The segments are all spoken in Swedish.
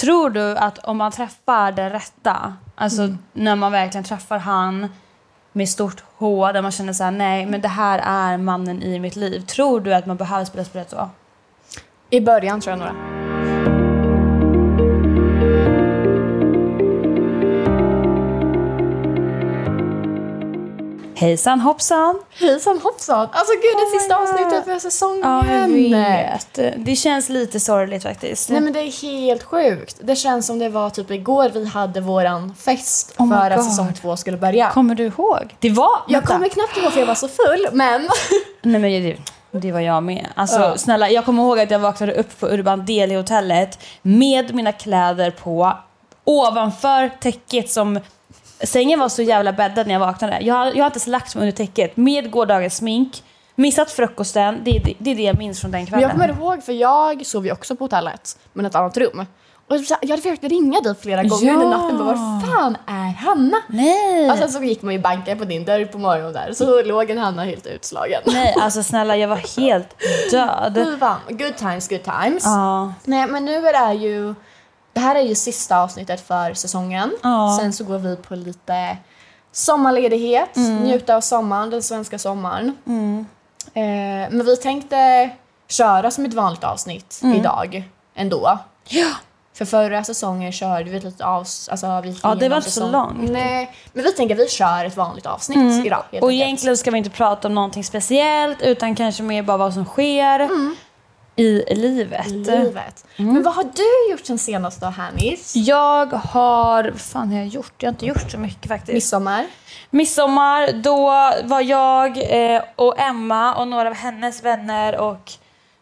Tror du att om man träffar den rätta, alltså Mm. när man verkligen träffar han med stort H, där man känner så här, nej men det här är mannen i mitt liv. Tror du att man behöver spela spelet så? I början tror jag nog det. Hejsan hoppsan! Hejsan hoppsan! Alltså gud, det Oh my är sista God. avsnittet för säsongen! Det känns lite sorgligt faktiskt. Nej men det är helt sjukt. Det känns som det var typ igår vi hade våran fest Oh my för God. att säsong två skulle börja. Kommer du ihåg? Det var... jag vänta. kommer knappt ihåg för jag var så full, men... Nej men det, det var jag med. Alltså Ja. snälla, jag kommer ihåg att jag vaknade upp på Urban Deli-hotellet med mina kläder på ovanför täcket som Sängen var så jävla bäddad när jag vaknade. Jag, jag har inte ens lagt mig under täcket med gårdagens smink, missat frukosten. Det, är det, det är det jag minns från den Men jag kvällen. kommer ihåg, för jag sov ju också på hotellet, men ett annat rum. Och så här, jag hade försökt ringa dig flera gånger Ja. under natten, bara var fan är Hanna? Nej! Och sen så gick man ju banka på din dörr på morgonen där, så låg en Hanna helt utslagen. Nej, alltså snälla jag var helt död. Fy fan, good times, good times. Ja. Nej, men nu är det ju... Det här är ju sista avsnittet för säsongen. Ja. Sen så går vi på lite sommarledighet, Mm. njuta av sommaren, den svenska sommaren. Eh, men vi tänkte köra som ett vanligt avsnitt idag ändå. Mm. Ja. För förra säsongen körde vi ett litet avsnitt. Alltså vi gick Ja, det var igenom inte så säsong- långt. Mm. Nej, men vi tänker vi kör ett vanligt avsnitt idag. helt Och enkelt. egentligen ska vi inte prata om någonting speciellt utan kanske mer bara vad som sker i livet. Mm. Livet. Mm. Men vad har du gjort sen senast då, Hannis? Jag har... Vad fan har jag gjort? Jag har inte gjort så mycket faktiskt. Midsommar? Midsommar, då var jag eh, och Emma och några av hennes vänner och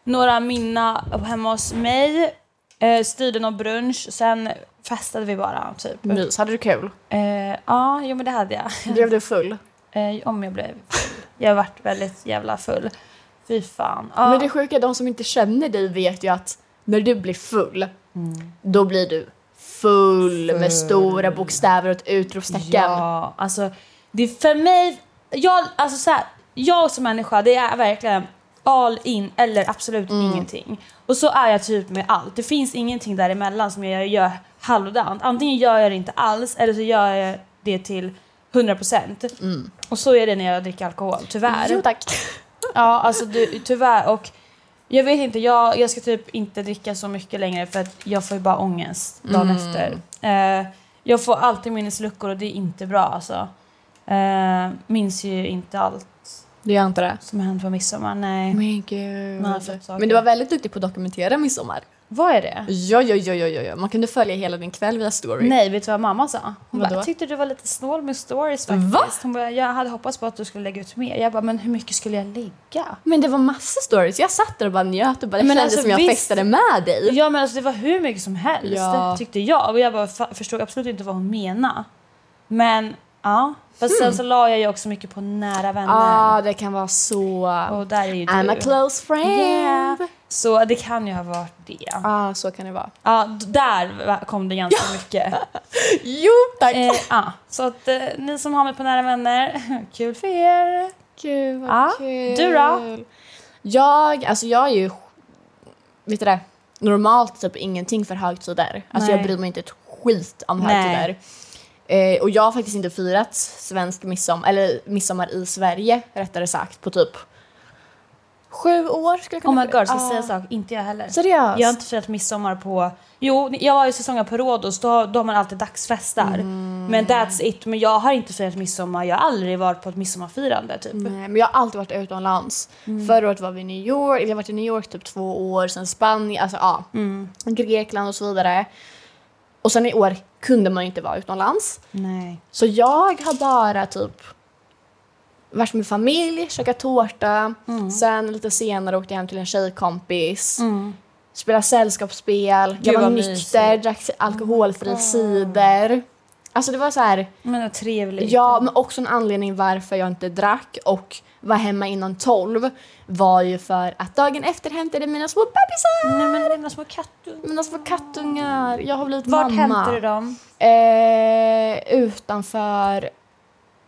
några av mina hemma hos mig. Eh, styrde någon brunch, sen festade vi bara typ. Mys, hade du kul? Eh, ja, jo men det hade jag. Blev du full? Eh, om jag blev full. Jag har varit väldigt jävla full. Fy fan. Ja. Men det sjuka, de som inte känner dig vet ju att när du blir full, Mm. då blir du full, Full. med stora bokstäver och ett utropstecken. Ja, alltså det är för mig, jag, alltså så här, jag som människa det är verkligen all in eller absolut ingenting. Och så är jag typ med allt. Det finns ingenting däremellan som jag gör halvdant. Antingen gör jag det inte alls eller så gör jag det till 100%. Och så är det när jag dricker alkohol, tyvärr. Mm. Jo tack. Ja, alltså du, tyvärr. Och jag vet inte, jag, jag ska typ inte dricka så mycket längre för att jag får ju bara ångest dagen Mm. efter. Eh, jag får alltid minnesluckor och det är inte bra alltså. Eh, minns ju inte allt Du gör inte det? som har hänt på midsommar, nej. Men gud. Man har fått saker. Men du var väldigt duktig på att dokumentera midsommar. Vad är det? Ja, ja, ja, ja, ja, ja. Man kunde följa hela din kväll via story. Nej, vet du vad mamma sa? Hon bara, Vadå? jag tyckte du var lite snål med stories faktiskt. Va? Hon bara, jag hade hoppats på att du skulle lägga ut mer. Jag bara, men hur mycket skulle jag lägga? Men det var massor stories. Jag satt där och bara njöt och bara det Men kändes alltså, som jag visst. festade med dig. Ja men alltså det var hur mycket som helst Ja. tyckte jag och jag bara fa- förstod absolut inte vad hon menade. Men ja, fast sen så la jag ju också mycket på nära vänner ah, det kan vara så... och där är ju I'm a du. close friend. Yeah. Så det kan ju ha varit det. Ja, Ah, så kan det vara. d- där va- kom det ganska mycket. Jo, tack. Eh, ja. Så att eh, ni som har mig på nära vänner, kul för er. Gud vad Ja, kul. du då? Jag, alltså jag är ju, vet du det, normalt typ ingenting för högtider. Alltså Nej. jag bryr mig inte ett skit om Nej. högtider. Eh, och jag har faktiskt inte firat svensk midsommar, eller midsommar i Sverige rättare sagt, på typ sju år skulle jag kunna Oh my god, ska jag Ah. säga en sak? Inte jag heller. Seriöst? Jag har inte firat midsommar på... Jo, jag var ju säsongen på Rhodos, då, då har man alltid dagsfest där. Mm. Men that's it. Men jag har inte firat midsommar, jag har aldrig varit på ett midsommarfirande typ. Nej, men jag har alltid varit utomlands. Mm. Förra året var vi i New York, eller jag har varit i New York typ två år, sen Spanien, alltså ja. Mm. Grekland och så vidare. Och sen i år kunde man ju inte vara utomlands. Nej. Så jag har bara typ varit med familj, käkat tårta, Mm. sen lite senare åkte jag hem till en tjejkompis, Mm. spelade sällskapsspel, jag var vad nykter, drack alkoholfri cider. Alltså det var så här, Men vad trevligt. ja men också en anledning varför jag inte drack och var hemma innan tolv var ju för att dagen efter hämtade mina små bebisar, Nej men dina små kattungar. mina små kattungar, jag har blivit Vart mamma. hämtade du dem? Eh, utanför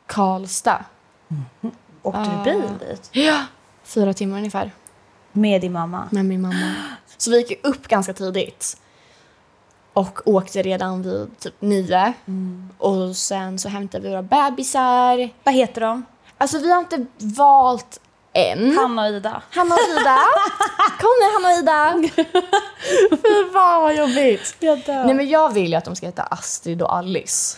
Karlstad. Åkte Ah. du bil dit? Ja. Fyra timmar ungefär Med din mamma? med min mamma. Så vi gick ju upp ganska tidigt. och åkte redan vid typ nio. Mm. Och sen så hämtade vi våra bebisar. Vad heter de? Alltså vi har inte valt än. Hanna och Ida. Hanna och Ida. Kom nu Hanna och Ida. Fy fan vad jobbigt. Jag dör. Nej men jag vill ju att de ska heta Astrid och Alice.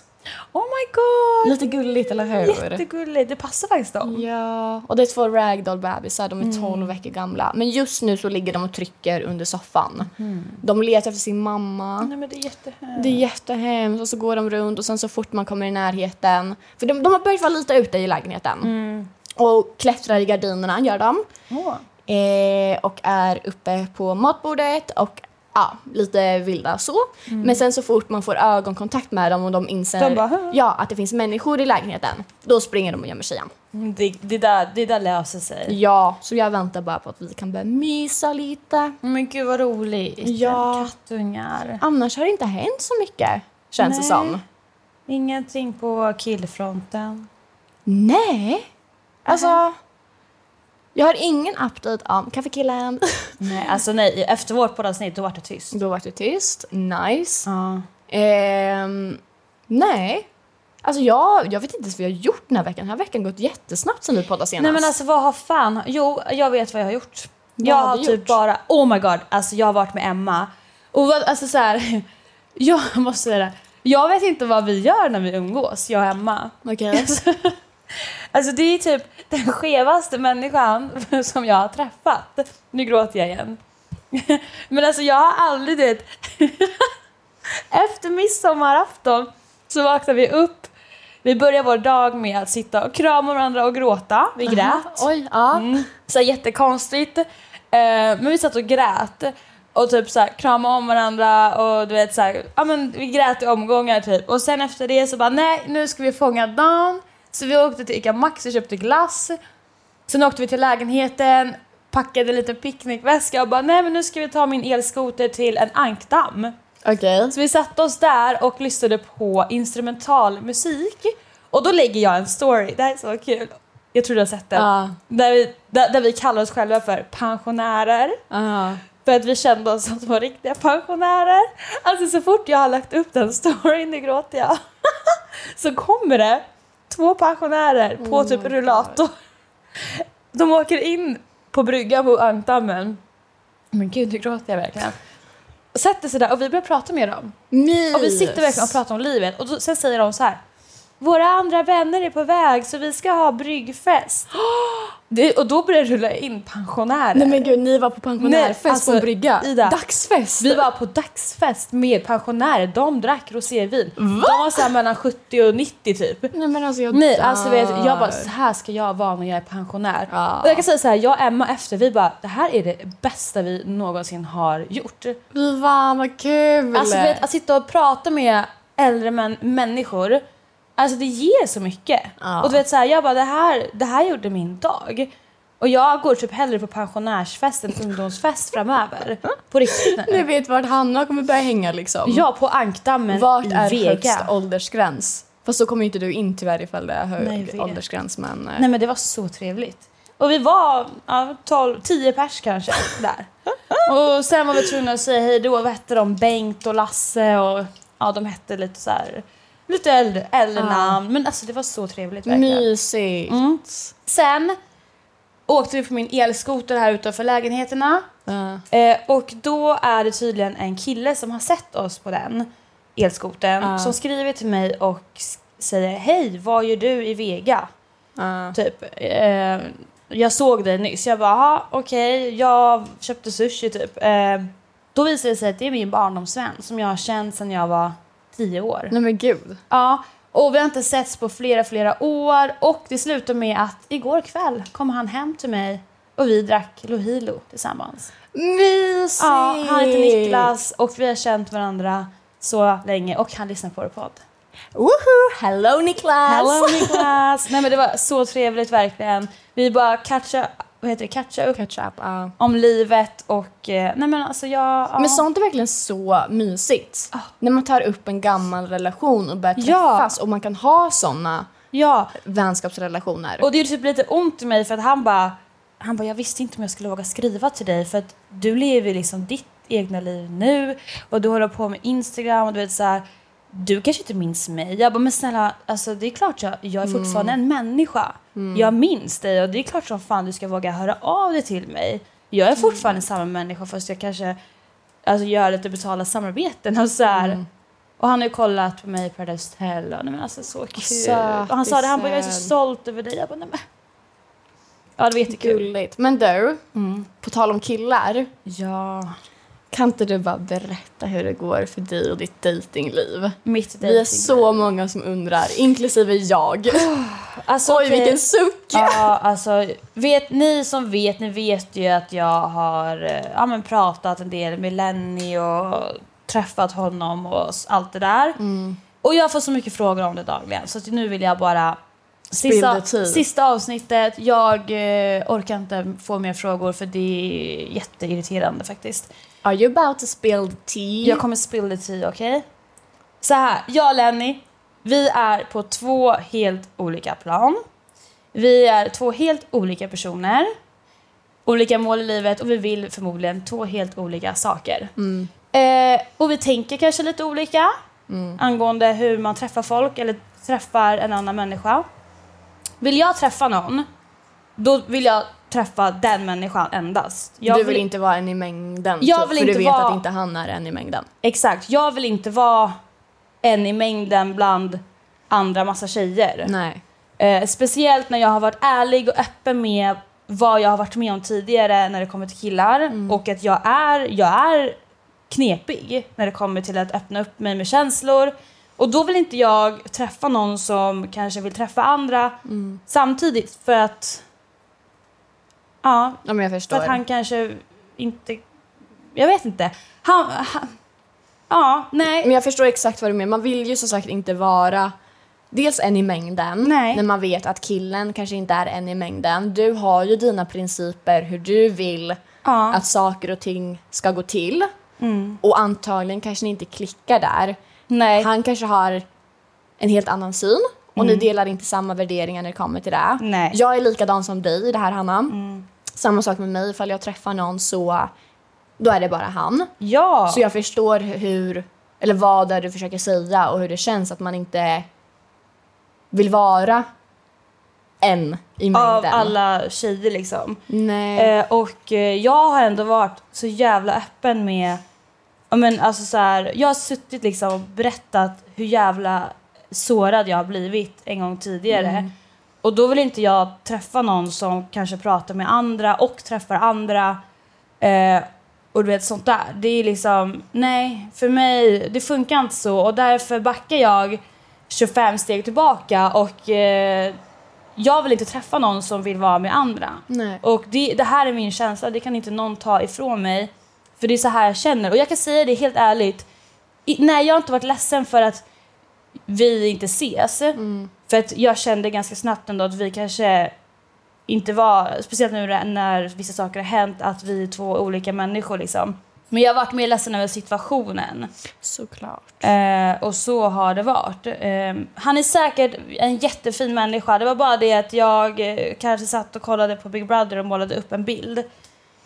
Oh my god! Lite gulligt eller hur? Jättegulligt. Det passar faktiskt dem. Ja, och det är två ragdoll-bebisar. De Mm. är 12 veckor gamla. Men just nu så ligger de och trycker under soffan. Mm. De letar efter sin mamma. Nej men det är jättehemskt. Det är jättehemskt och så går de runt och sen så fort man kommer i närheten. För de, de har börjat vara lite ute i lägenheten. Mm. Och klättrar i gardinerna, gör de. Åh. Eh, och är uppe på matbordet och ja, lite vilda så. Men sen så fort man får ögonkontakt med dem och de inser Mm. De bara, "Hä?" ja, att det finns människor i lägenheten, då springer de och gömmer sig igen. Det, det, där, det där löser sig. Ja, så jag väntar bara på att vi kan börja mysa lite. Men gud vad roligt. Ja. Kattungar. Annars har det inte hänt så mycket, känns det Nej. som. Ingenting på killfronten. Nej. Alltså, jag har ingen update om kaffekillen. Nej, alltså nej. Efter vårt poddavsnitt då vart det tyst. Då var det tyst. Nice. Ja. Ehm, nej. Alltså jag, jag vet inte ens vad jag har gjort den här veckan. Den här veckan har gått jättesnabbt sen vi poddade senast. Nej men alltså vad har fan... Jo, jag vet vad jag har gjort. jag har har du typ gjort? bara... Oh my god, alltså jag har varit med Emma. Och vad- alltså så här, Jag måste säga det. Jag vet inte vad vi gör när vi umgås, jag och Emma. Okej. Alltså det är typ den skevaste människan som jag har träffat. Nu gråter jag igen. Men alltså jag har aldrig det. Efter midsommarafton så vaknar vi upp. Vi börjar vår dag med att sitta och krama varandra och gråta. Vi grät. Aha, Oj, ja. Mm. Så här jättekonstigt. Eh, men vi satt och grät och typ så här, kramade om varandra och du vet så här, ja men vi grät i omgångar typ. Och sen efter det så bara nej, nu ska vi fånga dagen. Så vi åkte till Ica Maxi och köpte glass. Sen åkte vi till lägenheten, packade en liten picknickväska och bara nej men nu ska vi ta min elskoter till en ankdamm. Okej. Så vi satte oss där och lyssnade på instrumentalmusik. Och då lägger jag en story, det här är så kul. Jag tror du har sett den. Ja. Där vi, där, där vi kallar oss själva för pensionärer. Aha. För att vi kände oss som två riktiga pensionärer. Alltså så fort jag har lagt upp den storyn, nu gråter jag. så kommer det två pensionärer på Oh typ my rullator. De åker in på bryggan på ankdammen. Men gud, nu gråter jag verkligen. Sätter sig där och vi börjar prata med dem. Mys. Och vi sitter verkligen och pratar om livet. Och då, sen säger de så här. Våra andra vänner är på väg så vi ska ha bryggfest. Det, och då börjar det rulla in pensionärer. Nej men gud, ni var på pensionärfest Nej, alltså, på en brygga. Ida. Dagsfest. Vi var på dagsfest med pensionärer. De drack rosévin. De var så här mellan 70 och 90 typ. Nej men alltså jag Nej, alltså vet, dör. jag bara så här ska jag vara när jag är pensionär. Ja. Och jag kan säga så här, jag och Emma efter vi bara det här är det bästa vi någonsin har gjort. Fy fan vad kul. Alltså, du vet, att sitta och prata med äldre män, människor, alltså det ger så mycket. Ja. Och du vet så här, jag bara det här, det här gjorde min dag. Och jag går typ hellre på pensionärsfest än ungdomsfest framöver. På riktigt nu. Ni vet vart Hanna kommer börja hänga liksom. Ja, på ankdammen Vart i är Vega. högst åldersgräns? Fast så kommer inte du in tyvärr ifall det är hög Nej, jag vet. åldersgräns men... eh, Nej men det var så trevligt. Och vi var ja, 12, 10 pers kanske där. Och sen var vi tvungna att säga hej då. Vad hette de? Bengt och Lasse och ja, de hette lite så här lite äldre, äldre Ja. namn. Men alltså det var så trevligt verkligen. Mysigt. Mm. Sen åkte vi på min elskoter här utanför lägenheterna. Ja. Eh, och då är det tydligen en kille som har sett oss på den elskoten Ja. som skriver till mig och s- säger hej, vad gör du i Vega? Ja. Typ, eh, jag såg dig nyss. Jag bara, "Aha, okej, jag köpte sushi typ. Eh, då visade det sig att det är min barndomsvän som jag har känt sedan jag var tio år. Nej men gud. Ja, och vi har inte setts på flera, flera år och det slutar med att igår kväll kom han hem till mig och vi drack Lohilo tillsammans. Mysigt! Ja, han heter Niklas och vi har känt varandra så länge och han lyssnar på vår podd. Woohoo! Hello Niklas! Hello Niklas! Nej men det var så trevligt verkligen. Vi bara catcha, vad heter det, catcha upp Catch up, ja. om livet och eh, nej men alltså jag... Ja. Men sånt är verkligen så mysigt. Ja. När man tar upp en gammal relation och börjar Ja. träffas och man kan ha såna ja, vänskapsrelationer. och det gjorde typ lite ont i mig för att han bara, han bara jag visste inte om jag skulle våga skriva till dig för att du lever liksom ditt egna liv nu och du håller på med Instagram och du vet så här, du kanske inte minns mig. Jag bara, men snälla, alltså det är klart jag, jag är fortfarande en människa. Mm. Jag minns dig och det är klart som fan du ska våga höra av dig till mig. Jag är fortfarande samma människa fast jag kanske alltså, gör lite betala samarbeten och så här. Mm. Och han har ju kollat på mig på Paradise Hotel och nej, men alltså så kul. sötis, och han sa det, han bara jag är så söt. stolt över dig. Jag bara nej men. Ja det var jättekul. Gulligt. Men du, Mm. på tal om killar. Ja. Kan inte du bara berätta hur det går för dig och ditt datingliv? Mitt dating. Vi är så många som undrar, inklusive jag. Alltså, Oj, okej. vilken suck! Ja, alltså, vet ni som vet, ni vet ju att jag har eh, ja, men pratat en del med Lenny och träffat honom och s- allt det där. Och jag får så mycket frågor om det dagligen så att nu vill jag bara Sista, the tea. sista avsnittet, jag eh, orkar inte få mer frågor för det är jätteirriterande faktiskt. Are you about to spill the tea? Jag kommer spill the tea, okej? Så här, jag och Lenny, vi är på två helt olika plan. Vi är två helt olika personer, olika mål i livet och vi vill förmodligen två helt olika saker. Mm. Eh, och vi tänker kanske lite olika Mm. angående hur man träffar folk eller träffar en annan människa. Vill jag träffa någon, då vill jag träffa den människan endast. Jag du vill, inte vara en i mängden, Jag typ, vill för inte du vet vara- att inte han är en i mängden. Exakt, jag vill inte vara en i mängden bland andra massa tjejer. Nej. Eh, speciellt när jag har varit ärlig och öppen med vad jag har varit med om tidigare när det kommer till killar och att jag är, jag är knepig när det kommer till att öppna upp mig med känslor. Och då vill inte jag träffa någon som kanske vill träffa andra samtidigt för att ja, Ja, men jag för förstår. att han kanske inte... Jag vet inte. Han... han ja, nej. Men jag förstår exakt vad du menar. Man vill ju som sagt inte vara dels en i mängden, Nej. när man vet att killen kanske inte är en i mängden. Du har ju dina principer hur du vill Ja. att saker och ting ska gå till. Mm. Och antagligen kanske ni inte klickar där. Nej. Mm. Han kanske har en helt annan syn och ni delar inte samma värderingar när det kommer till det. Nej. Mm. Jag är likadan som dig i det här Hanna. Samma sak med mig, ifall jag träffar någon så då är det bara han. Ja. Så jag förstår hur, eller vad det är du försöker säga och hur det känns att man inte vill vara en i mängden. Av alla tjejer liksom. Nej. Eh, och eh, jag har ändå varit så jävla öppen med... ja, Men, alltså, så här, jag har suttit liksom och berättat hur jävla sårad jag har blivit en gång tidigare. Och då vill inte jag träffa någon som kanske pratar med andra och träffar andra. Eh, och du vet sånt där. Det är liksom, nej, för mig, det funkar inte så. Och därför backar jag 25 steg tillbaka och eh, jag vill inte träffa någon som vill vara med andra. Nej. Och det, det här är min känsla, det kan inte någon ta ifrån mig. För det är så här jag känner. Och jag kan säga det helt ärligt. I, nej, jag har inte varit ledsen för att vi inte ses. För att jag kände ganska snabbt ändå att vi kanske inte var, speciellt nu när vissa saker har hänt, att vi är två olika människor liksom. Men jag har varit mer ledsen över situationen. Såklart. Eh, och så har det varit. Eh, han är säkert en jättefin människa. Det var bara det att jag eh, kanske satt och kollade på Big Brother och målade upp en bild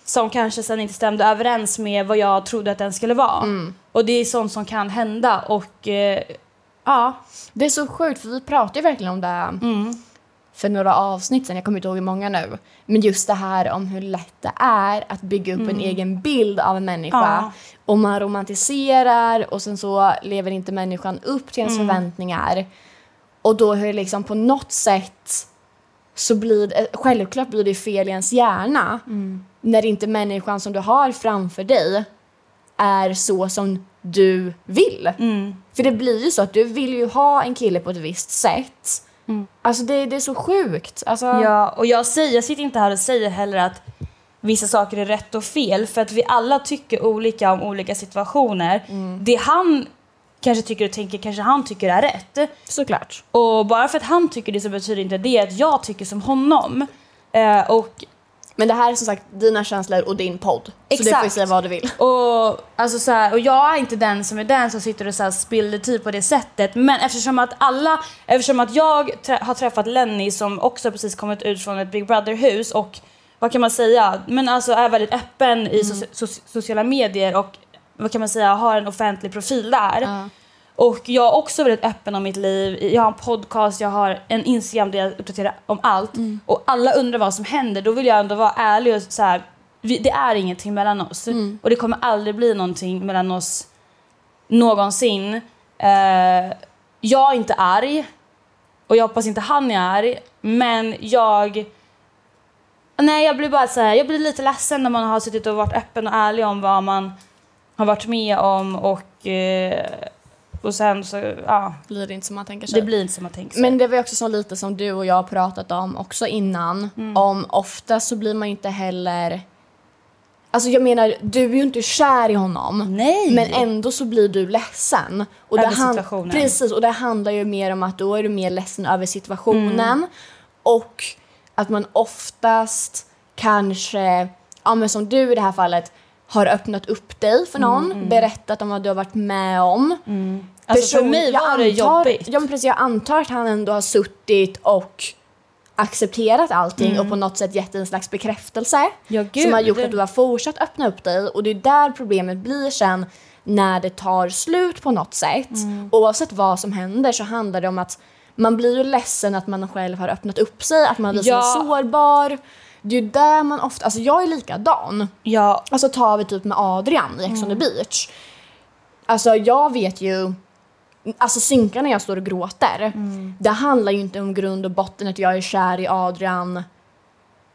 som kanske sen inte stämde överens med vad jag trodde att den skulle vara. Och det är sånt som kan hända och eh, ja. Det är så sjukt för vi pratade ju verkligen om det här mm. för några avsnitt sen, jag kommer inte ihåg hur många nu. Men just det här om hur lätt det är att bygga upp en egen bild av en människa. Ja. Och man romantiserar och sen så lever inte människan upp till ens förväntningar. Och då hur liksom på något sätt så blir det, självklart blir det fel i ens hjärna när inte människan som du har framför dig är så som du vill. Mm. För det blir ju så att du vill ju ha en kille på ett visst sätt. Alltså det, det är så sjukt. Alltså, Ja, och jag, säger, jag sitter inte här och säger heller att vissa saker är rätt och fel för att vi alla tycker olika om olika situationer. Det han kanske tycker och tänker kanske han tycker är rätt. Såklart. Och bara för att han tycker det så betyder inte det att jag tycker som honom. Eh, och, Men det här är som sagt dina känslor och din podd. Så du får ju Exakt. säga vad du vill. och, alltså så här, och jag är inte den som är den som sitter och så här spiller tid på det sättet. Men eftersom att alla, eftersom att jag trä- har träffat Lenny som också precis kommit ut från ett Big Brother-hus och vad kan man säga, men alltså är väldigt öppen i so- so- sociala medier och vad kan man säga, har en offentlig profil där. Ja. Och jag är också väldigt öppen om mitt liv. Jag har en podcast, jag har en Instagram där jag uppdaterar om allt. Och alla undrar vad som händer. Då vill jag ändå vara ärlig och så här, vi, det är ingenting mellan oss. Och det kommer aldrig bli någonting mellan oss någonsin. Eh, jag är inte arg. Och jag hoppas inte han är arg. Men jag... Nej, jag blir bara så här, jag blir lite ledsen när man har suttit och varit öppen och ärlig om vad man har varit med om och... Eh, och sen så, ja. Blir det inte som man tänker sig. Det blir inte som man tänker sig. Men det var ju också så lite som du och jag har pratat om också innan. Om ofta så blir man ju inte heller... Alltså jag menar, du är ju inte kär i honom. Nej! Men ändå så blir du ledsen. Och Över det han- situationen. Precis, och det handlar ju mer om att då är du mer ledsen över situationen. Mm. Och att man oftast kanske, ja men som du i det här fallet, har öppnat upp dig för Mm, någon, berättat om vad du har varit med om. Alltså, för mig jag var det antar- jobbigt. Ja, men precis, jag antar att han ändå har suttit och accepterat Mm. allting och på något sätt gett dig en slags bekräftelse Ja, som har gud. gjort att du har fortsatt öppna upp dig och det är där problemet blir sen när det tar slut på något sätt. Mm. Oavsett vad som händer så handlar det om att man blir ju ledsen att man själv har öppnat upp sig, att man blir Ja. så sårbar. Det är ju där man ofta, alltså jag är likadan. Ja, Alltså tar vi typ med Adrian i Mm. Ex on the beach. Alltså jag vet ju, alltså synkar när jag står och Mm. gråter. Det handlar ju inte om grund och botten att jag är kär i Adrian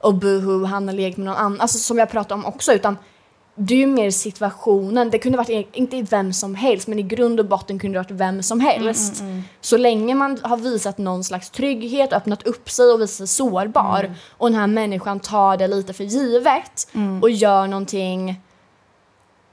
och buhu, han har lekt med någon annan. Alltså som jag pratade om också utan det är ju mer situationen. Det kunde varit e- inte vem som helst men i grund och botten kunde det varit vem som helst. Så länge man har visat någon slags trygghet, öppnat upp sig och visat sig sårbar och den här människan tar det lite för givet och gör någonting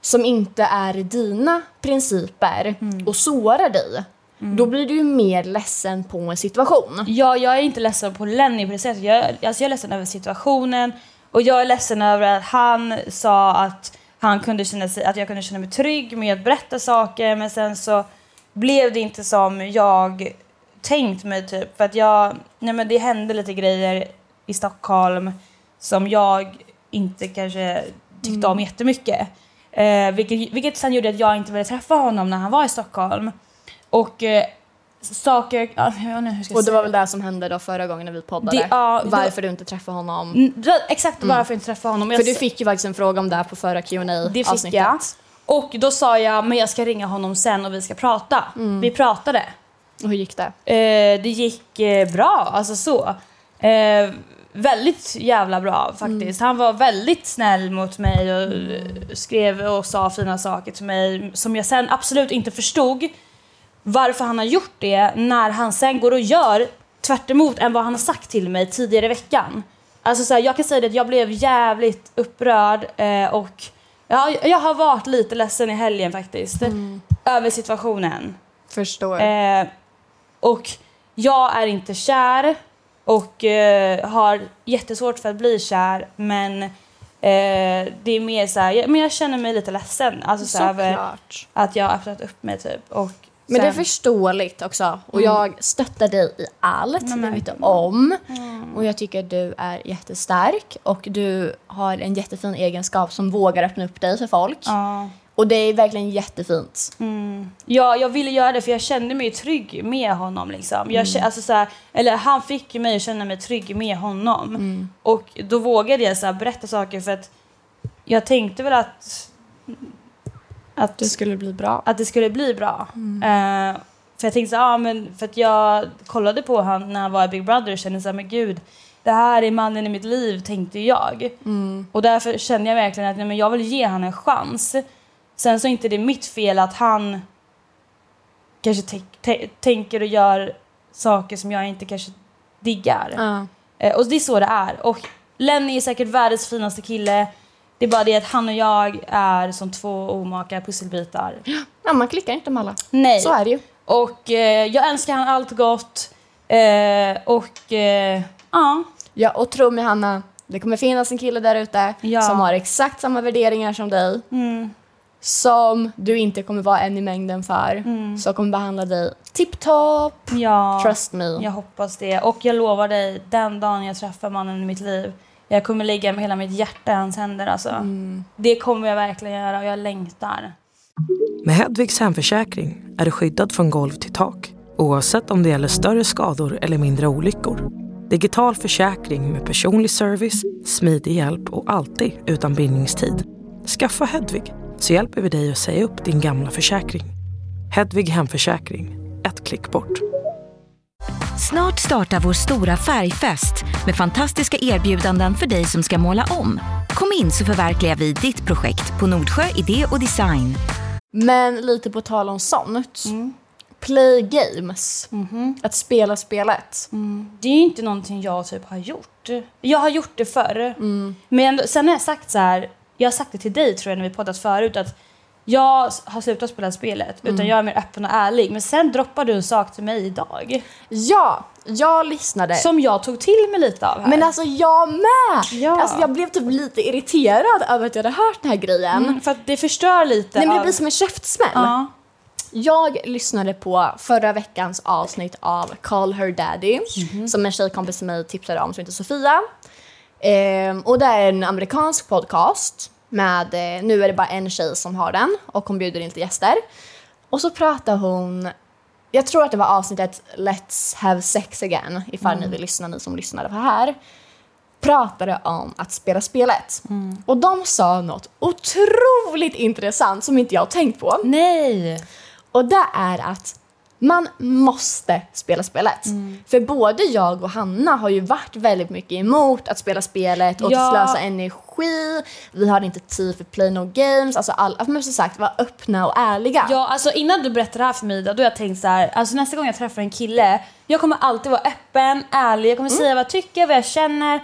som inte är dina principer och sårar dig. Då blir du ju mer ledsen på en situation. ja, jag är inte ledsen på Lenny på det sättet. Jag, alltså, jag är ledsen över situationen och jag är ledsen över att han sa att, han kunde känna sig, att jag kunde känna mig trygg med att berätta saker men sen så blev det inte som jag tänkt mig typ. För att jag, nej men det hände lite grejer i Stockholm som jag inte kanske tyckte om Mm. jättemycket. Eh, vilket, vilket sen gjorde att jag inte ville träffa honom när han var i Stockholm. Och eh, saker... Ja, jag vet inte hur jag ska Och det säga. var väl det som hände då förra gången när vi poddade. Det- ja, det- Varför du inte träffade honom. Mm, det var Exakt varför jag inte träffade honom. Jag För du s- fick ju faktiskt en fråga om det här på förra qa det fick jag. Och då sa jag, men jag ska ringa honom sen och vi ska prata. Vi pratade. Och hur gick det? Eh, det gick eh, bra, alltså så. Eh, väldigt jävla bra faktiskt. Han var väldigt snäll mot mig och eh, skrev och sa fina saker till mig som jag sen absolut inte förstod varför han har gjort det när han sen går och gör tvärt emot än vad han har sagt till mig tidigare i veckan. Alltså så här, jag kan säga det att jag blev jävligt upprörd eh, och ja, jag har varit lite ledsen i helgen faktiskt. Över situationen. Förstår. Eh, och jag är inte kär och eh, har jättesvårt för att bli kär men eh, det är mer så här, jag, men jag känner mig lite ledsen alltså, så här, över Såklart. att jag har öppnat upp mig typ. Och eh, Men det är sen- förståeligt också. Och jag stöttar dig i allt, det vet du om. Och jag tycker att du är jättestark och du har en jättefin egenskap som vågar öppna upp dig för folk. Ja. mm. Och det är verkligen jättefint. Ja, jag ville göra det för jag kände mig trygg med honom. Liksom. Mm. Jag, kä- alltså, så här, eller han fick mig att känna mig trygg med honom. Mm. Och då vågade jag så här, berätta saker för att jag tänkte väl att, att, skulle bli bra. att det skulle bli bra. Mm. Eh, för jag tänkte så här, ah, men för att jag kollade på honom när han var i Big Brother och kände så här, men gud, det här är mannen i mitt liv, tänkte jag. Mm. Och därför kände jag verkligen att nej, men jag vill ge honom en chans. Sen så är inte det mitt fel att han kanske tänk- tä- tänker och gör saker som jag inte kanske diggar. Ja. Eh, och det är så det är. Och Lenny är säkert världens finaste kille. Det är bara det att han och jag är som två omaka pusselbitar. ja, man klickar inte med alla. Nej. Så är det ju. Och eh, jag önskar han allt gott. Eh, och eh, ja, Ja, och tro mig Hanna, det kommer finnas en kille där ute Ja. som har exakt samma värderingar som dig. Mm, Som du inte kommer vara en i mängden för. Som kommer behandla dig tipptopp. Mm. ja. Trust me. Jag hoppas det. Och jag lovar dig, den dagen jag träffar mannen i mitt liv, Jag kommer lägga med hela mitt hjärta i hans händer. Alltså. Mm. Det kommer jag verkligen göra och jag längtar. Med Hedvigs hemförsäkring är du skyddad från golv till tak oavsett om det gäller större skador eller mindre olyckor. Digital försäkring med personlig service, smidig hjälp och alltid utan bindningstid. Skaffa Hedvig så hjälper vi dig att säga upp din gamla försäkring. Hedvig hemförsäkring, ett klick bort. Snart startar vår stora färgfest med fantastiska erbjudanden för dig som ska måla om. Kom in så förverkligar vi ditt projekt på Nordsjö Idé och Design. Men lite på tal om sånt. Mm. Play games. Mm-hmm. Att spela spelet. Det är ju inte någonting jag typ har gjort. Jag har gjort det förr. Mm. Men ändå, sen har jag sagt så här, jag har sagt det till dig tror jag när vi poddat förut att jag har slutat spela spelet Mm. utan jag är mer öppen och ärlig. Men sen droppade du en sak till mig idag. Ja, jag lyssnade. Som jag tog till mig lite av här. Men alltså jag med! Ja. Alltså, jag blev typ lite irriterad över att jag hade hört den här grejen. Mm, för att det förstör lite Nej men det av... blir som en käftsmäll. Ja. Jag lyssnade på förra veckans avsnitt av Call Her Daddy som en tjejkompis till mig tipsade om som heter Sofia. Ehm, och det är en amerikansk podcast med, eh, nu är det bara en tjej som har den och hon bjuder inte gäster. Och så pratar hon, jag tror att det var avsnittet Let's have sex again ifall Mm. ni vill lyssna ni som lyssnade på det här pratade om att spela spelet. Mm. Och de sa något otroligt intressant som inte jag har tänkt på. Nej! Och det är att man måste spela spelet. Mm. För både jag och Hanna har ju varit väldigt mycket emot att spela spelet och Ja. att slösa energi. Vi har inte tid för play no games. Alltså all, men som sagt, vara öppna och ärliga. Ja, alltså innan du berättade det här för mig då, då har jag tänkt så här, alltså nästa gång jag träffar en kille, jag kommer alltid vara öppen, ärlig, jag kommer Mm. säga vad jag tycker, vad jag känner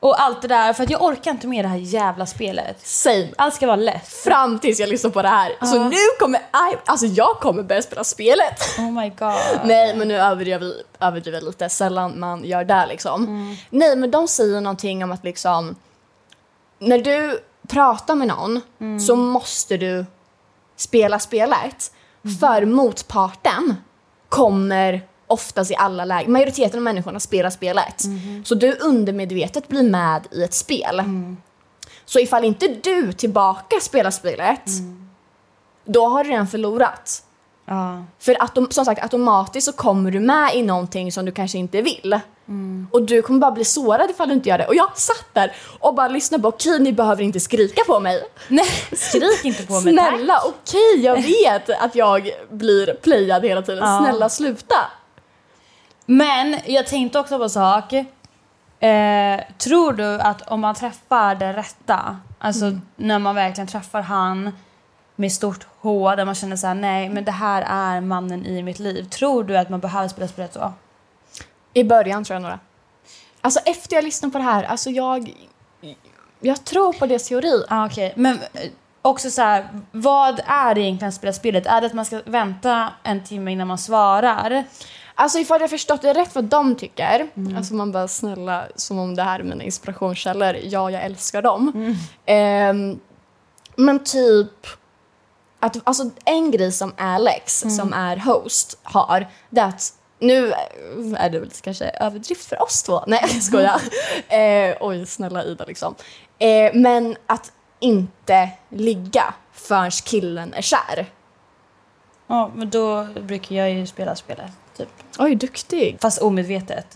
och allt det där för att jag orkar inte med det här jävla spelet. Same. Allt ska vara lätt. Fram tills jag lyssnar på det här. Så nu kommer I, alltså jag kommer börja spela spelet. Oh my god. Nej, men nu överdriver vi- överdriver jag lite. Sällan man gör det liksom. Nej, men de säger någonting om att liksom... När du pratar med någon så måste du spela spelet. För motparten kommer oftast i alla lägen... Majoriteten av människorna spelar spelet. Så du undermedvetet blir med i ett spel. Så ifall inte du tillbaka spelar spelet, då har du redan förlorat. Ja. För autom- som sagt, automatiskt så kommer du med i någonting som du kanske inte vill. Och du kommer bara bli sårad ifall du inte gör det. Och jag satt där och bara lyssnade på okej, ni behöver inte skrika på mig. Nej, skrik inte på mig tack. Snälla, okej, jag vet att jag blir playad hela tiden. Ja. Snälla sluta. Men jag tänkte också på en sak. Eh, tror du att om man träffar den rätta, alltså när man verkligen träffar han med stort H där man känner så här: nej men det här är mannen i mitt liv. Tror du att man behöver spela spelet då? I början tror jag några. Alltså efter jag lyssnade på det här, alltså jag... Jag tror på deras teori. Ah, Okej, men eh, också så här, vad är det egentligen att spela spelet? Är det att man ska vänta en timme innan man svarar? Alltså ifall jag förstått det rätt vad de tycker, alltså man bara snälla som om det här är mina inspirationskällor, ja jag älskar dem. Ehm, men typ, att, alltså en grej som Alex som är host har, det är att nu är det väl kanske överdrift för oss två, nej jag skojar. Eh, oj snälla Ida liksom. Eh, men att inte ligga förrän killen är kär. Ja, men då brukar jag ju spela spelet. Typ. Oj duktig. Fast omedvetet.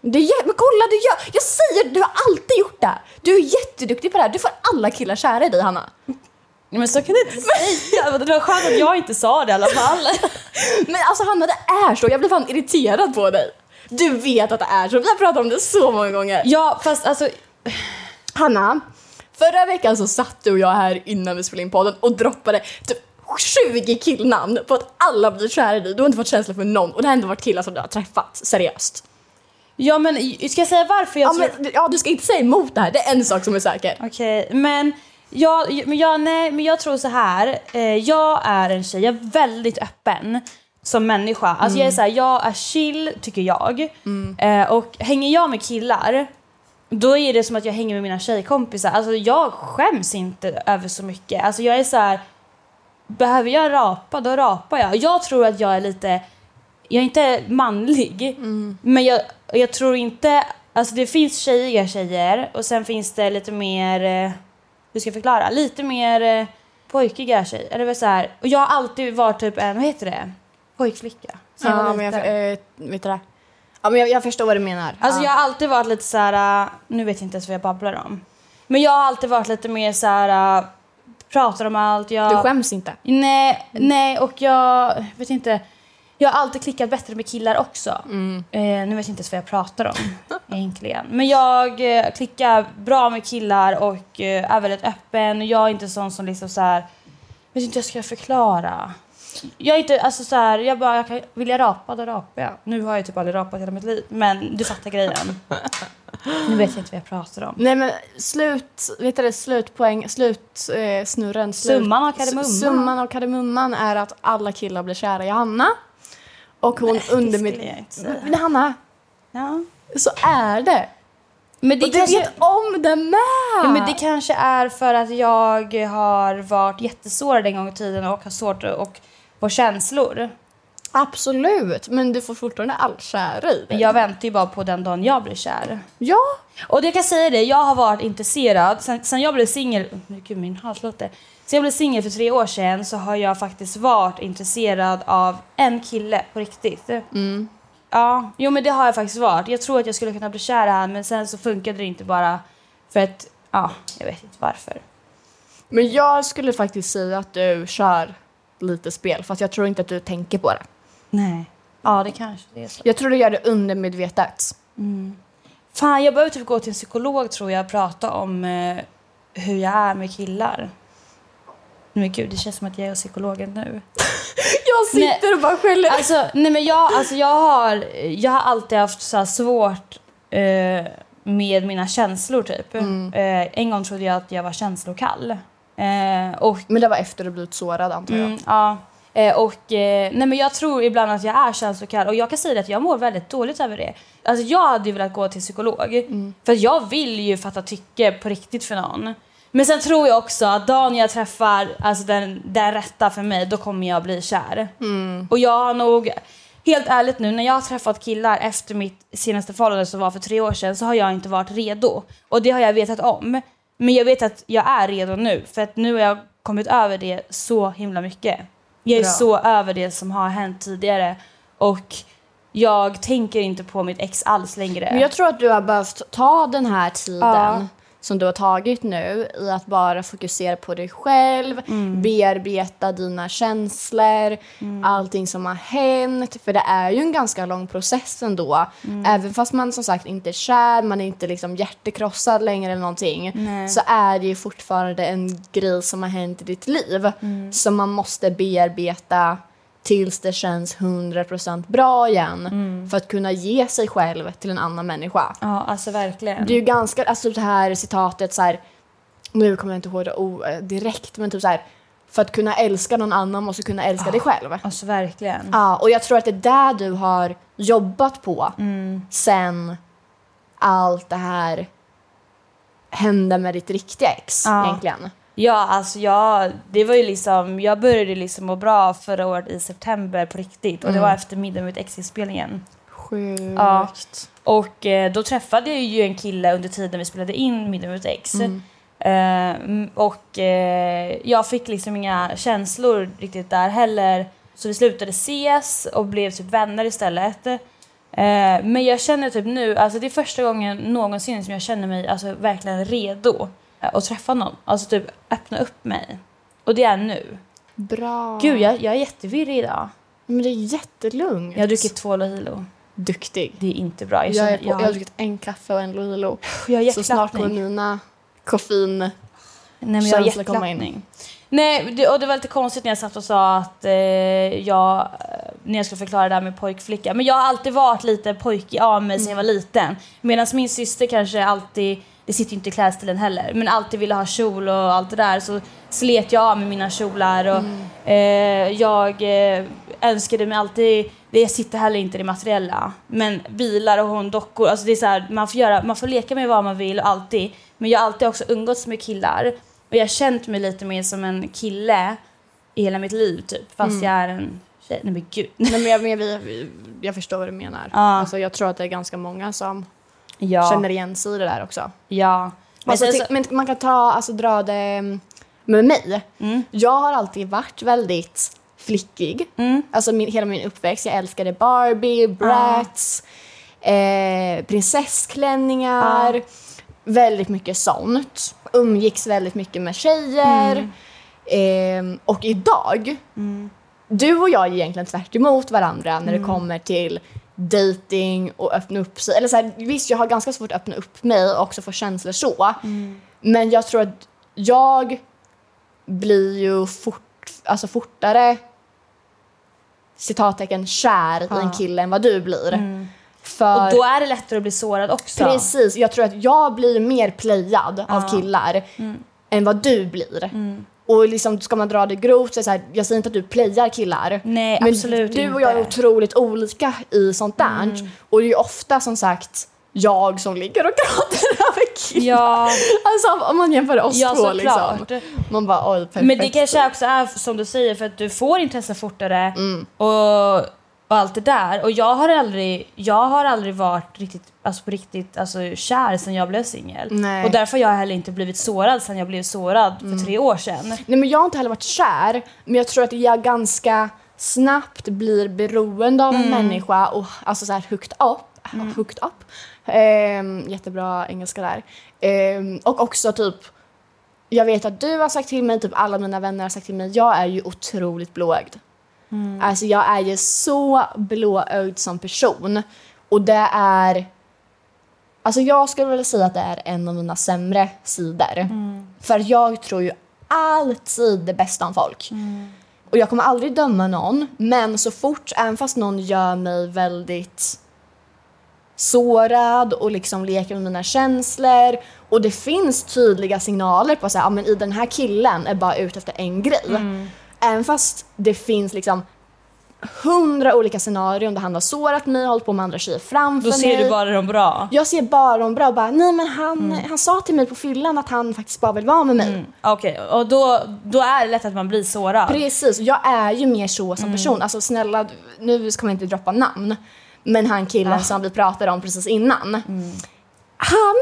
Du gör, men kolla, du gör, jag säger du har alltid gjort det! Du är jätteduktig på det här, du får alla killar kära i dig Hanna. Nej, Men så kan du inte säga. Det var skönt att jag inte sa det i alla fall. Men alltså Hanna det är så, jag blir fan irriterad på dig. Du vet att det är så, vi har pratat om det så många gånger. Ja, fast alltså... Hanna, förra veckan så satt du och jag här innan vi spelade in podden och droppade typ 20 killnamn på att alla blir kära i dig. Du har inte fått känsla för någon och det har ändå varit killar som du har träffat, seriöst. Ja, men ska jag säga varför jag Ja, tror... men, ja du ska inte säga emot det här, det är en sak som är säker. Okej, men... Jag, men, jag, nej, men jag tror så här. Eh, jag är en tjej, jag är väldigt öppen som människa. Alltså jag är så här, jag är chill tycker jag. Eh, och hänger jag med killar, då är det som att jag hänger med mina tjejkompisar. Alltså jag skäms inte över så mycket. Alltså jag är så här, behöver jag rapa, då rapar jag. Jag tror Mm. att jag är lite, jag är inte manlig, men jag, jag tror inte Alltså det finns tjejiga tjejer och sen finns det lite mer, eh, hur ska jag förklara, lite mer eh, pojkiga tjejer. Eller väl så här, och jag har alltid varit typ en, vad heter det, pojkflicka. sen jag var Ja, men liten. jag, eh, vet du det? Ja, men jag, jag förstår vad du menar. Alltså ja. jag har alltid varit lite så här. äh, nu vet jag inte ens vad jag babblar om. Men jag har alltid varit lite mer så här. äh, pratar om allt. Jag, Du skäms inte. Nej, nej och jag vet inte. Jag har alltid klickat bättre med killar också. Eh, nu vet jag inte ens vad jag pratar om egentligen. Men jag eh, klickar bra med killar och eh, är väldigt öppen. Och jag är inte sån som liksom så här. vet inte hur jag ska förklara. Jag är inte, alltså så här, jag bara, jag kan, vill jag rapa då rapar jag. Nu har jag typ aldrig rapat hela mitt liv, men du fattar grejen. nu vet jag inte vad jag pratar om. Nej men slut, vet du det, slutpoäng, slutsnurren. Eh, snurren, slut, Summan av kardemumman. s- Summan av kardemumman är att alla killar blir kära i Hanna. Och hon under det skulle jag inte säga. Men Hanna, Ja. så är det. Men det Det och du kanske- vet om det med! Ja, men det kanske är för att jag har varit jättesårad en gång i tiden och har svårt att och få känslor. Absolut, men du får fortfarande allt kär i Men dig. jag väntar ju bara på den dagen jag blir kär. Ja, Och det kan jag säga det, jag har varit intresserad. Sen, sen jag blev singel, oh, gud min hals låter. Sen jag blev singel för tre år sedan så har jag faktiskt varit intresserad av en kille på riktigt. Mm. Ja, jo men det har jag faktiskt varit. Jag tror att jag skulle kunna bli kär i han men sen så funkade det inte bara för att, ja, jag vet inte varför. men jag skulle faktiskt säga att du kör lite spel fast jag tror inte att du tänker på det. Nej. Ja, det kanske det är så. Jag tror du gör det undermedvetet. Mm. Fan, jag behöver typ gå till en psykolog tror jag och prata om eh, hur jag är med killar. Men gud, det känns som att jag är psykologen nu. Jag Nej. sitter och bara skäller. Alltså, nej men jag, alltså jag, har, jag har alltid haft så här svårt eh, med mina känslor typ. Eh, en gång trodde jag att jag var känslokall. Eh, och Men det var efter du blivit sårad antar jag. Mm, ja. Eh, och, eh, nej men jag tror ibland att jag är känslokall och jag kan säga det att jag mår väldigt dåligt över det. Alltså jag hade ju velat gå till psykolog Mm. för att jag vill ju fatta tycke på riktigt för någon. Men sen tror jag också att dagen jag träffar alltså den, den rätta för mig då kommer jag bli kär. Mm. Och jag har nog, helt ärligt nu, när jag har träffat killar efter mitt senaste förhållande som var för tre år sedan så har jag inte varit redo. Och det har jag vetat om. Men jag vet att jag är redo nu för att nu har jag kommit över det så himla mycket. Jag är Bra. så över det som har hänt tidigare och jag tänker inte på mitt ex alls längre. Men jag tror att du har behövt ta den här tiden Ja. som du har tagit nu i att bara fokusera på dig själv, bearbeta dina känslor, allting som har hänt. För det är ju en ganska lång process ändå. Även fast man som sagt inte är kär, man är inte liksom hjärtekrossad längre eller någonting. Nej. Så är det ju fortfarande en grej som har hänt i ditt liv som man måste bearbeta tills det känns 100% bra igen för att kunna ge sig själv till en annan människa. Ja, alltså verkligen. Det är ju ganska, alltså det här citatet så här, nu kommer jag inte ihåg det o- eh, direkt, men typ så här, för att kunna älska någon annan måste du kunna älska dig själv. Ja, Alltså verkligen. och jag tror att det är där du har jobbat på Mm. sen allt det här hände med ditt riktiga ex Ja. egentligen. Ja, alltså jag, det var ju liksom, jag började liksom må bra förra året i september på riktigt och det var efter middag med ex-inspelningen. Sjukt. Ja. Och eh, då träffade jag ju en kille under tiden vi spelade in Middag mot ex. Mm. Eh, mm, och eh, jag fick liksom inga känslor riktigt där heller. Så vi slutade ses och blev typ vänner istället. Eh, men jag känner typ nu, alltså det är första gången någonsin som jag känner mig alltså, verkligen redo eh, att träffa någon. Alltså typ öppna upp mig. Och det är nu. Bra. Gud, jag, jag är jättevirrig idag. Men det är jättelugnt. Jag har druckit två Lilo. Duktig. Det är inte bra. Jag, Jag, känner, är på, jag jag, har jag, druckit en kaffe och en Lilo. jag har Så snart hjärtklappning. kommer mina koffein... Nej, men jag har känsla komma in. hjärtklappning. Nej, det, och det var lite konstigt när jag satt och sa att eh, jag, eh, när jag skulle förklara det här med pojkflicka, men jag har alltid varit lite pojkig av mig sedan jag var liten. Medan min syster kanske alltid, det sitter ju inte i klädstilen heller, men alltid ville ha kjol och allt det där så slet jag av med mina kjolar och eh, jag eh, önskade mig alltid, det sitter heller inte i det materiella, men bilar och hon dockor, alltså det är så här, man får göra, man får leka med vad man vill och alltid, men jag har alltid också umgåtts med killar. Och jag har känt mig lite mer som en kille i hela mitt liv typ. Fast jag är en tjej. Nej men gud. Nej, men jag, men jag, jag förstår vad du menar. Ja. Alltså, jag tror att det är ganska många som Ja. känner igen sig i det där också. ja. Men, Men alltså, sen ty- så, men man kan ta, alltså, dra det mm, med mig. Mm, Jag har alltid varit väldigt flickig. mm, Alltså min, hela min uppväxt. Jag älskade Barbie, Bratz, eh, prinsessklänningar. Väldigt mycket sånt. Umgicks väldigt mycket med tjejer. Eh, och idag, mm, du och jag är egentligen tvärt emot varandra när det kommer till dating och öppna upp sig. Eller så här, visst, jag har ganska svårt att öppna upp mig och också få känslor så. Mm. Men jag tror att jag blir ju fort, alltså fortare citattecken kär i en kille än vad du blir. För Ah. Mm. och då är det lättare att bli sårad också. Precis, jag tror att jag blir mer playad Ah. av killar Mm. än vad du blir. Och liksom, ska man dra det grovt, så är det så här, jag säger inte att du playar killar. Nej, men absolut du och jag är inte. Mm. otroligt olika i sånt där. Och det är ju ofta som sagt jag som ligger och gråter över killar. Ja, Alltså om man jämför oss ja två såklart. liksom. Man bara oj, perfekt. Men det kanske också är som du säger för att du får intresse fortare och, och allt det där. Och jag har aldrig, jag har aldrig varit riktigt, alltså på riktigt alltså, kär sen jag blev singel. Nej. Och därför har jag heller inte blivit sårad sen jag blev sårad för tre år sedan. Nej men jag har inte heller varit kär, men jag tror att jag ganska snabbt blir beroende av en Mm. människa och alltså så här hooked up. Hooked up. Ehm, jättebra engelska där. Ehm, och också typ, jag vet att du har sagt till mig, typ alla mina vänner har sagt till mig, jag är ju otroligt blåögd. Mm. Alltså jag är ju så blåögd som person. Och det är, alltså jag skulle vilja säga att det är en av mina sämre sidor. Mm. För jag tror ju alltid det bästa om folk. Mm. Och jag kommer aldrig döma någon, men så fort, även fast någon gör mig väldigt sårad och liksom leker med mina känslor och det finns tydliga signaler på att ah, men i den här killen är bara ute efter en grej. Mm. Även fast det finns liksom hundra olika scenarion där han har sårat mig, hållit på med andra tjejer framför Då ser mig. du bara de bra. Jag ser bara de bra och bara, nej men han, Mm. han sa till mig på fyllan att han faktiskt bara vill vara med mig. Okej, och då, då är det lätt att man blir sårad. Precis, jag är ju mer så Mm. som person. Alltså snälla, nu ska man inte droppa namn. Men han Ah. killen som vi pratade om precis innan. Mm. Han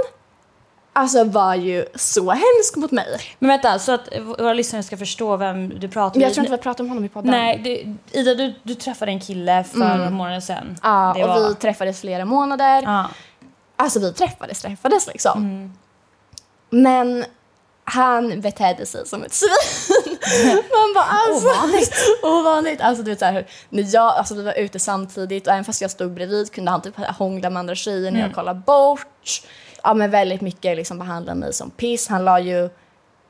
alltså var ju så hemsk mot mig. Men vänta, så att våra lyssnare ska förstå vem du pratar Men med. jag tror inte vi har pratat om honom i podden. Nej, du, Ida du, du träffade en kille för några månader sedan. Ja, Det och var- vi träffades flera månader. Ja. Mm. Alltså vi träffades, träffades liksom. Men han betedde sig som ett svin. Man bara alltså. Ovanligt. ovanligt. Alltså du vet såhär, när jag, alltså vi var ute samtidigt och även fast jag stod bredvid kunde han typ hångla med andra tjejer när jag kollade bort. Ja men väldigt mycket liksom behandlade mig som piss. Han la ju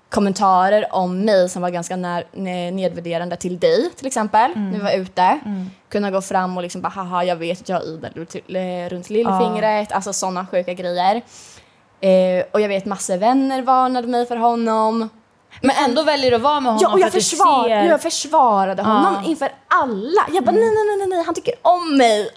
kommentarer om mig som var ganska när, ne- nedvärderande till dig till exempel när vi var ute. Kunna gå fram och liksom bara haha jag vet att jag har idel runt- eh, runt lillfingret, alltså sådana sjuka grejer. Eh, och jag vet massor vänner varnade mig för honom. Men ändå väljer du att vara med honom Ja, och jag, för att försvar, du ser... Mm. jag försvarade honom inför alla. Jag bara nej, nej, nej, nej, nej, han tycker om mig.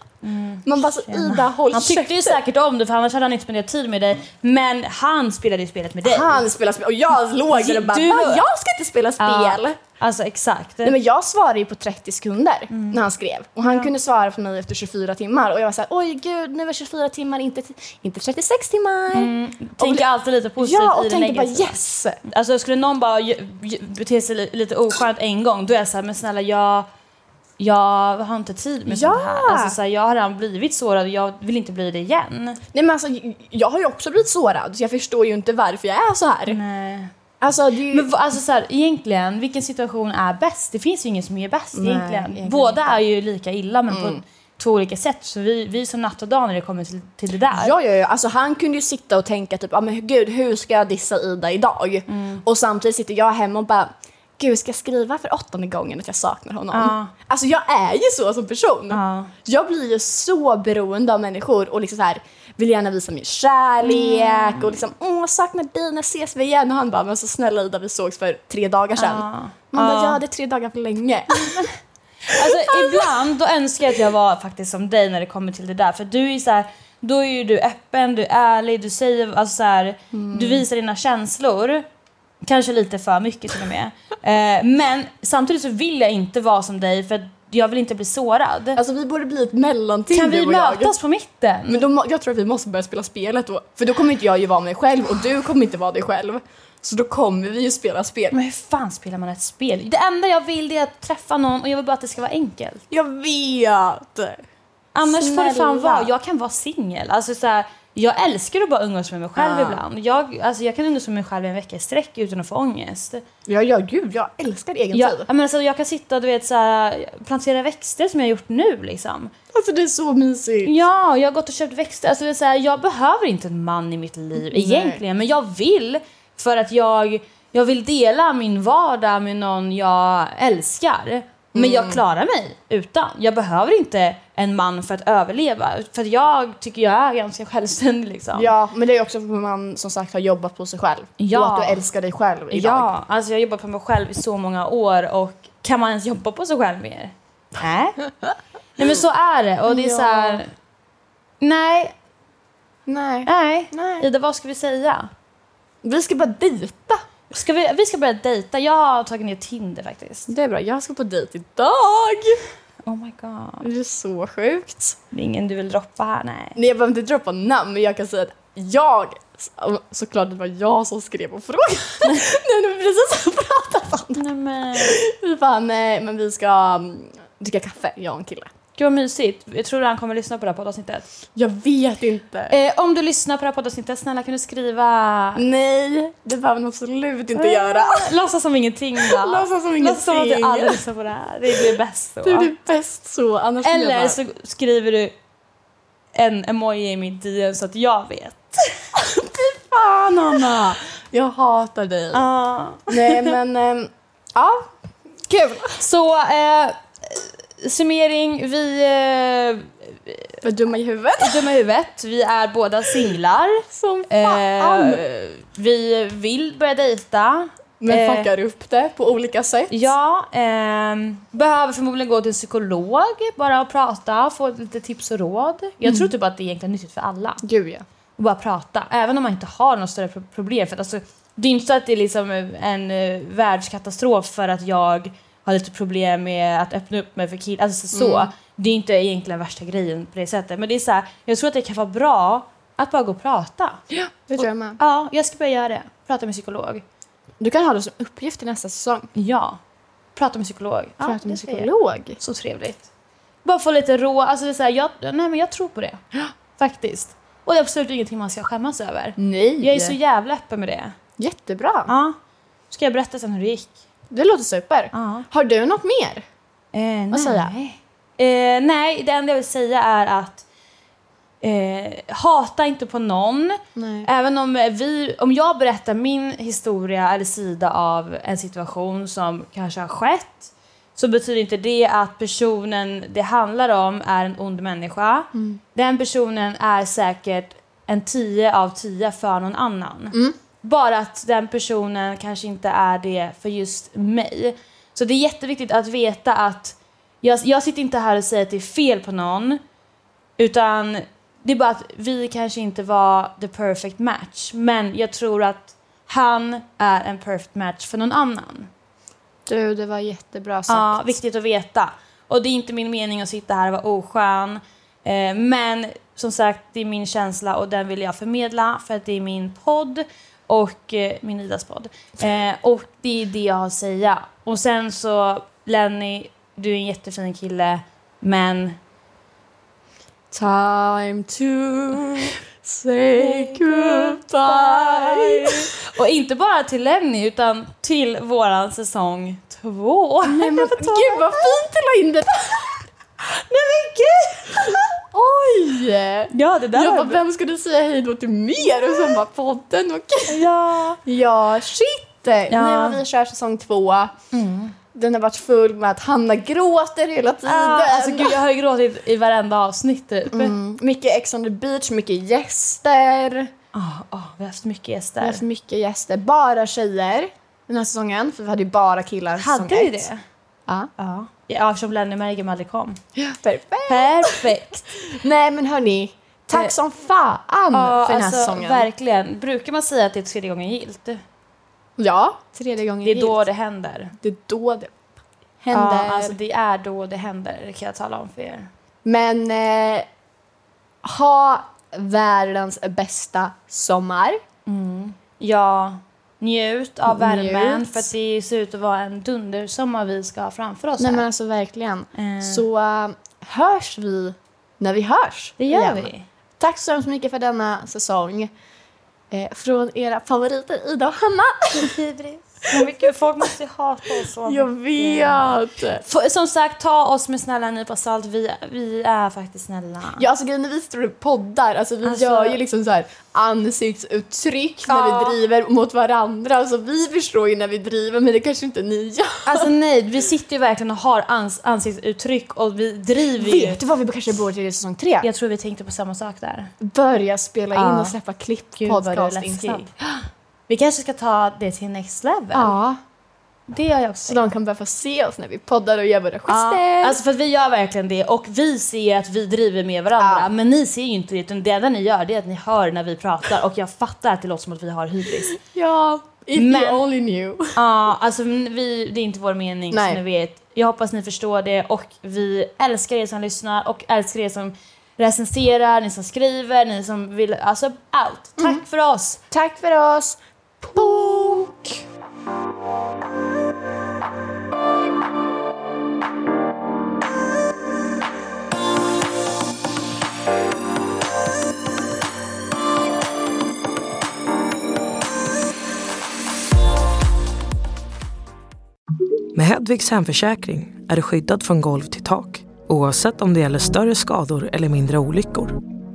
Man bara så, Ida håll Han tyckte ju käften. säkert om det för annars hade han inte spenderat tid med dig. Men han spelade ju spelet med dig. Han spelar spel och jag låg där och bara Du- "Va, jag ska inte spela Ja, spel. Alltså exakt. Nej, men jag svarade ju på 30 sekunder Mm. när han skrev. Och han kunde svara på mig efter 24 timmar. Och jag var såhär, oj gud, nu var 24 timmar, inte, inte 36 timmar. Tänk alltid lite Mm, positivt Ja, i och det tänkte bara negativa. yes! Alltså skulle någon bara ju- ju- bete sig li- lite oskönt en gång då är jag såhär, men snälla jag, jag har inte tid med Ja. sånt här. Alltså, så här. Jag har redan blivit sårad och jag vill inte bli det igen. Nej men alltså, jag har ju också blivit sårad. Så jag förstår ju inte varför jag är så här. Nej. Alltså, det är ju... Mm. Men vad- alltså så här, egentligen, vilken situation är bäst? Det finns ju ingen som är bäst Nej, egentligen. egentligen Mm. Båda är ju lika illa men på två olika sätt. Så vi, vi är som natt och dag när det kommer till, till det där. Ja, ja, ja. Alltså, han kunde ju sitta och tänka typ, ah, men gud, hur ska jag dissa Ida idag? Mm. Och samtidigt sitter jag hemma och bara, gud, ska jag skriva för åttonde gången att jag saknar honom? Ja. Alltså, jag är ju så som person. Ja. Jag blir ju så beroende av människor och liksom så här, vill gärna visa min kärlek Mm. och liksom, åh, jag saknar dig, när ses vi igen? Och han bara, men så snälla Ida, vi sågs för tre dagar sedan. Ja. Man bara, ja, det är tre dagar för länge. Alltså, ibland då önskar jag att jag var faktiskt som dig när det kommer till det där. För du är ju så här, då är ju du öppen, du är ärlig, du säger alltså så här, Mm. du visar dina känslor. Kanske lite för mycket till och med. Eh, men samtidigt så vill jag inte vara som dig för att Jag vill inte bli sårad. Alltså vi borde bli ett mellanting kan vi du och jag. mötas på mitten? Men då, må- jag tror att vi måste börja spela spelet då. För då kommer inte jag ju vara mig själv och du kommer inte vara dig själv. Så då kommer vi ju spela spel. Men hur fan spelar man ett spel? Det enda jag vill det är att träffa någon och jag vill bara att det ska vara enkelt. Jag vet! Annars får det fan Snälla. vara. Jag kan vara singel. Alltså så här, jag älskar att bara umgås med mig själv Ah. ibland. Jag, alltså, jag kan umgås med mig själv en vecka i sträck utan att få ångest. Ja, ja, gud, jag älskar egen Jag, tid. ja, men alltså, jag kan sitta och du vet, så här, plantera växter som jag har gjort nu. Liksom. Alltså det är så mysigt. Ja, jag har gått och köpt växter. Alltså, det är så här, jag behöver inte en man i mitt liv egentligen, men jag vill för att jag, jag vill dela min vardag med någon jag älskar. Men Mm. jag klarar mig utan. Jag behöver inte en man för att överleva. För att jag tycker jag är ganska självständig. Liksom. Ja, men det är också för att man som sagt har jobbat på sig själv. Ja. Och att du älskar dig själv idag. ja alltså jag har jobbat på mig själv i så många år och kan man ens jobba på sig själv mer? Nej. Nej men så är det och det är Ja. så här. Nej, Nej. nej. Nej. Ida, vad ska vi säga? Vi ska bara dejta. Ska vi, vi ska börja dejta. Jag har tagit ner Tinder faktiskt. Det är bra, jag ska på dejt idag. Oh my god. Det är så sjukt. Det är ingen du vill droppa här, nej. Nej, jag behöver inte droppa namn, men jag kan säga att jag... Såklart det var jag som skrev på frågan. Nej, men precis som pratat om. Nej men. Fy fan, nej, men vi ska mm, dricka kaffe, jag och en kille. Gud vad mysigt. Jag tror han kommer lyssna på det här poddavsnittet. Jag vet inte. Eh, om du lyssnar på det här poddavsnittet, snälla kan du skriva... Nej, det behöver man absolut inte göra. Låtsas som ingenting va? Eh, Låtsas som Låtsas som att du ingenting. aldrig lyssnar på det här. Det blir bäst så. Det är bäst så. Annars blir jag Eller bara- så skriver du en emoji i mitt DM så att jag vet. Fan Anna! Jag hatar dig. Ah. Nej men, ehm, ja. Kul! Så, eh, summering. Vi eh, Vad dumma i huvudet. är dumma i huvudet. Vi är båda singlar. Som fan! Eh, vi vill börja dejta. men eh, fuckar upp det på olika sätt. Ja, ehm, behöver förmodligen gå till en psykolog, bara och prata, få lite tips och råd. Jag tror typ att det är egentligen nyttigt för alla. Gud ja. Och bara prata, även om man inte har något större pro- problem. För att alltså, det är inte så att det är liksom en eh, världskatastrof för att jag har lite problem med att öppna upp mig för killar. Alltså så. Det är inte egentligen värsta grejen på det sättet. Men det är så här, jag tror att det kan vara bra att bara gå och prata. Det tror jag med. Ja, jag ska börja göra det. Prata med psykolog. Du kan ha det som uppgift till nästa säsong. Ja. Prata med psykolog. Ja, Prata med det ska jag psykolog. göra. Så trevligt. Bara få lite rå... Alltså det är så här, jag, nej men jag tror på det. Faktiskt. Och det är absolut ingenting man ska skämmas över. Nej! Jag är så jävla öppen med det. Jättebra. Ja. Ska jag berätta sen hur det gick? Det låter super. Ja. Har du något mer? Eh, Vad säger jag? Eh, nej, det enda jag vill säga är att eh, hata inte på någon. Nej. Även om, eh, vi, om jag berättar min historia eller sida av en situation som kanske har skett så betyder inte det att personen det handlar om är en ond människa. Den personen är säkert en 10 av 10 för någon annan. Bara att den personen kanske inte är det för just mig. Så det är jätteviktigt att veta att jag, jag sitter inte här och säger att det är fel på någon. Utan det är bara att vi kanske inte var the perfect match. Men jag tror att han är en perfect match för någon annan. Du, det var jättebra sagt. Ja, viktigt att veta. Och det är inte min mening att sitta här och vara oskön. Eh, men som sagt, det är min känsla och den vill jag förmedla för att det är min podd och eh, min Idas podd. Eh, och det är det jag har att säga. Och sen så, Lenny, du är en jättefin kille, men Time to say goodbye. Och inte bara till Lenny utan till våran säsong två. Nej men Gud vad fint du la in det Nej men gud! Oj! Ja det där Jag var bara, bra. vem ska du säga hej då till mer? Och sen bara podden och Ja. Ja, shit! Ja. Mm. Ja. vi kör säsong två. Den har varit full med att Hanna gråter hela tiden. Alltså gud jag har ju gråtit i varenda avsnitt typ. Mm. Mycket Ex on the beach, mycket gäster. Ah, ah, vi har haft mycket Vi har gäster. haft mycket gäster, bara tjejer den här säsongen. För vi hade ju bara killar säsong Hade vi ett. det? Ja. Ja. Ja eftersom Lenny och Mergem aldrig kom. Perfekt. Perfekt. Nej men hörni, Eh, tack som fan Ja, Mm, för den här alltså, säsongen. verkligen. Brukar man säga att det är tredje gången gillt? ja, tredje gången Det är då gillt. det händer. det är då det händer. Ja, alltså det är då det händer, det kan jag tala om för er. Men eh, ha världens bästa sommar. Ja, njut av värmen Njut. för att det ser ut att vara en dundersommar vi ska ha framför oss Nej här. men alltså verkligen. Eh. Så eh, hörs vi när vi hörs. Det gör igen. vi. Tack så hemskt mycket för denna säsong. Eh, från era favoriter Ida och Hanna. Men gud, folk måste ju hata oss så mycket. vet! F- Som sagt, ta oss med snälla en nypa salt. Vi, vi är faktiskt snälla. Ja, alltså grejen när vi står och poddar, alltså vi Alltså- gör ju liksom så här ansiktsuttryck när Ja. vi driver mot varandra. Alltså vi förstår ju när vi driver men det kanske inte ni gör. Alltså nej, vi sitter ju verkligen och har ans- ansiktsuttryck och vi driver ju. Vet du vad vi kanske borde göra i säsong tre? Jag tror vi tänkte på samma sak där. Börja spela in Ja. och släppa klipp Gud vad du är läskig. podcastinslag. Vi kanske ska ta det till next level. Ja, Det har jag också så de kan börja få se oss när vi poddar och gör våra gester. Ja, alltså för att vi gör verkligen det och vi ser att vi driver med varandra Ja. men ni ser ju inte det utan det enda ni gör det är att ni hör när vi pratar och jag fattar att det låter som att vi har hybris. ja, if Men- you only knew. Ja, alltså vi, det är inte vår mening Nej. så ni vet. Jag hoppas ni förstår det och vi älskar er som lyssnar och älskar er som recenserar, ni som skriver, ni som vill, alltså allt. Tack Mm. för oss! Tack för oss. Punk! Med Hedvigs hemförsäkring är du skyddad från golv till tak oavsett om det gäller större skador eller mindre olyckor.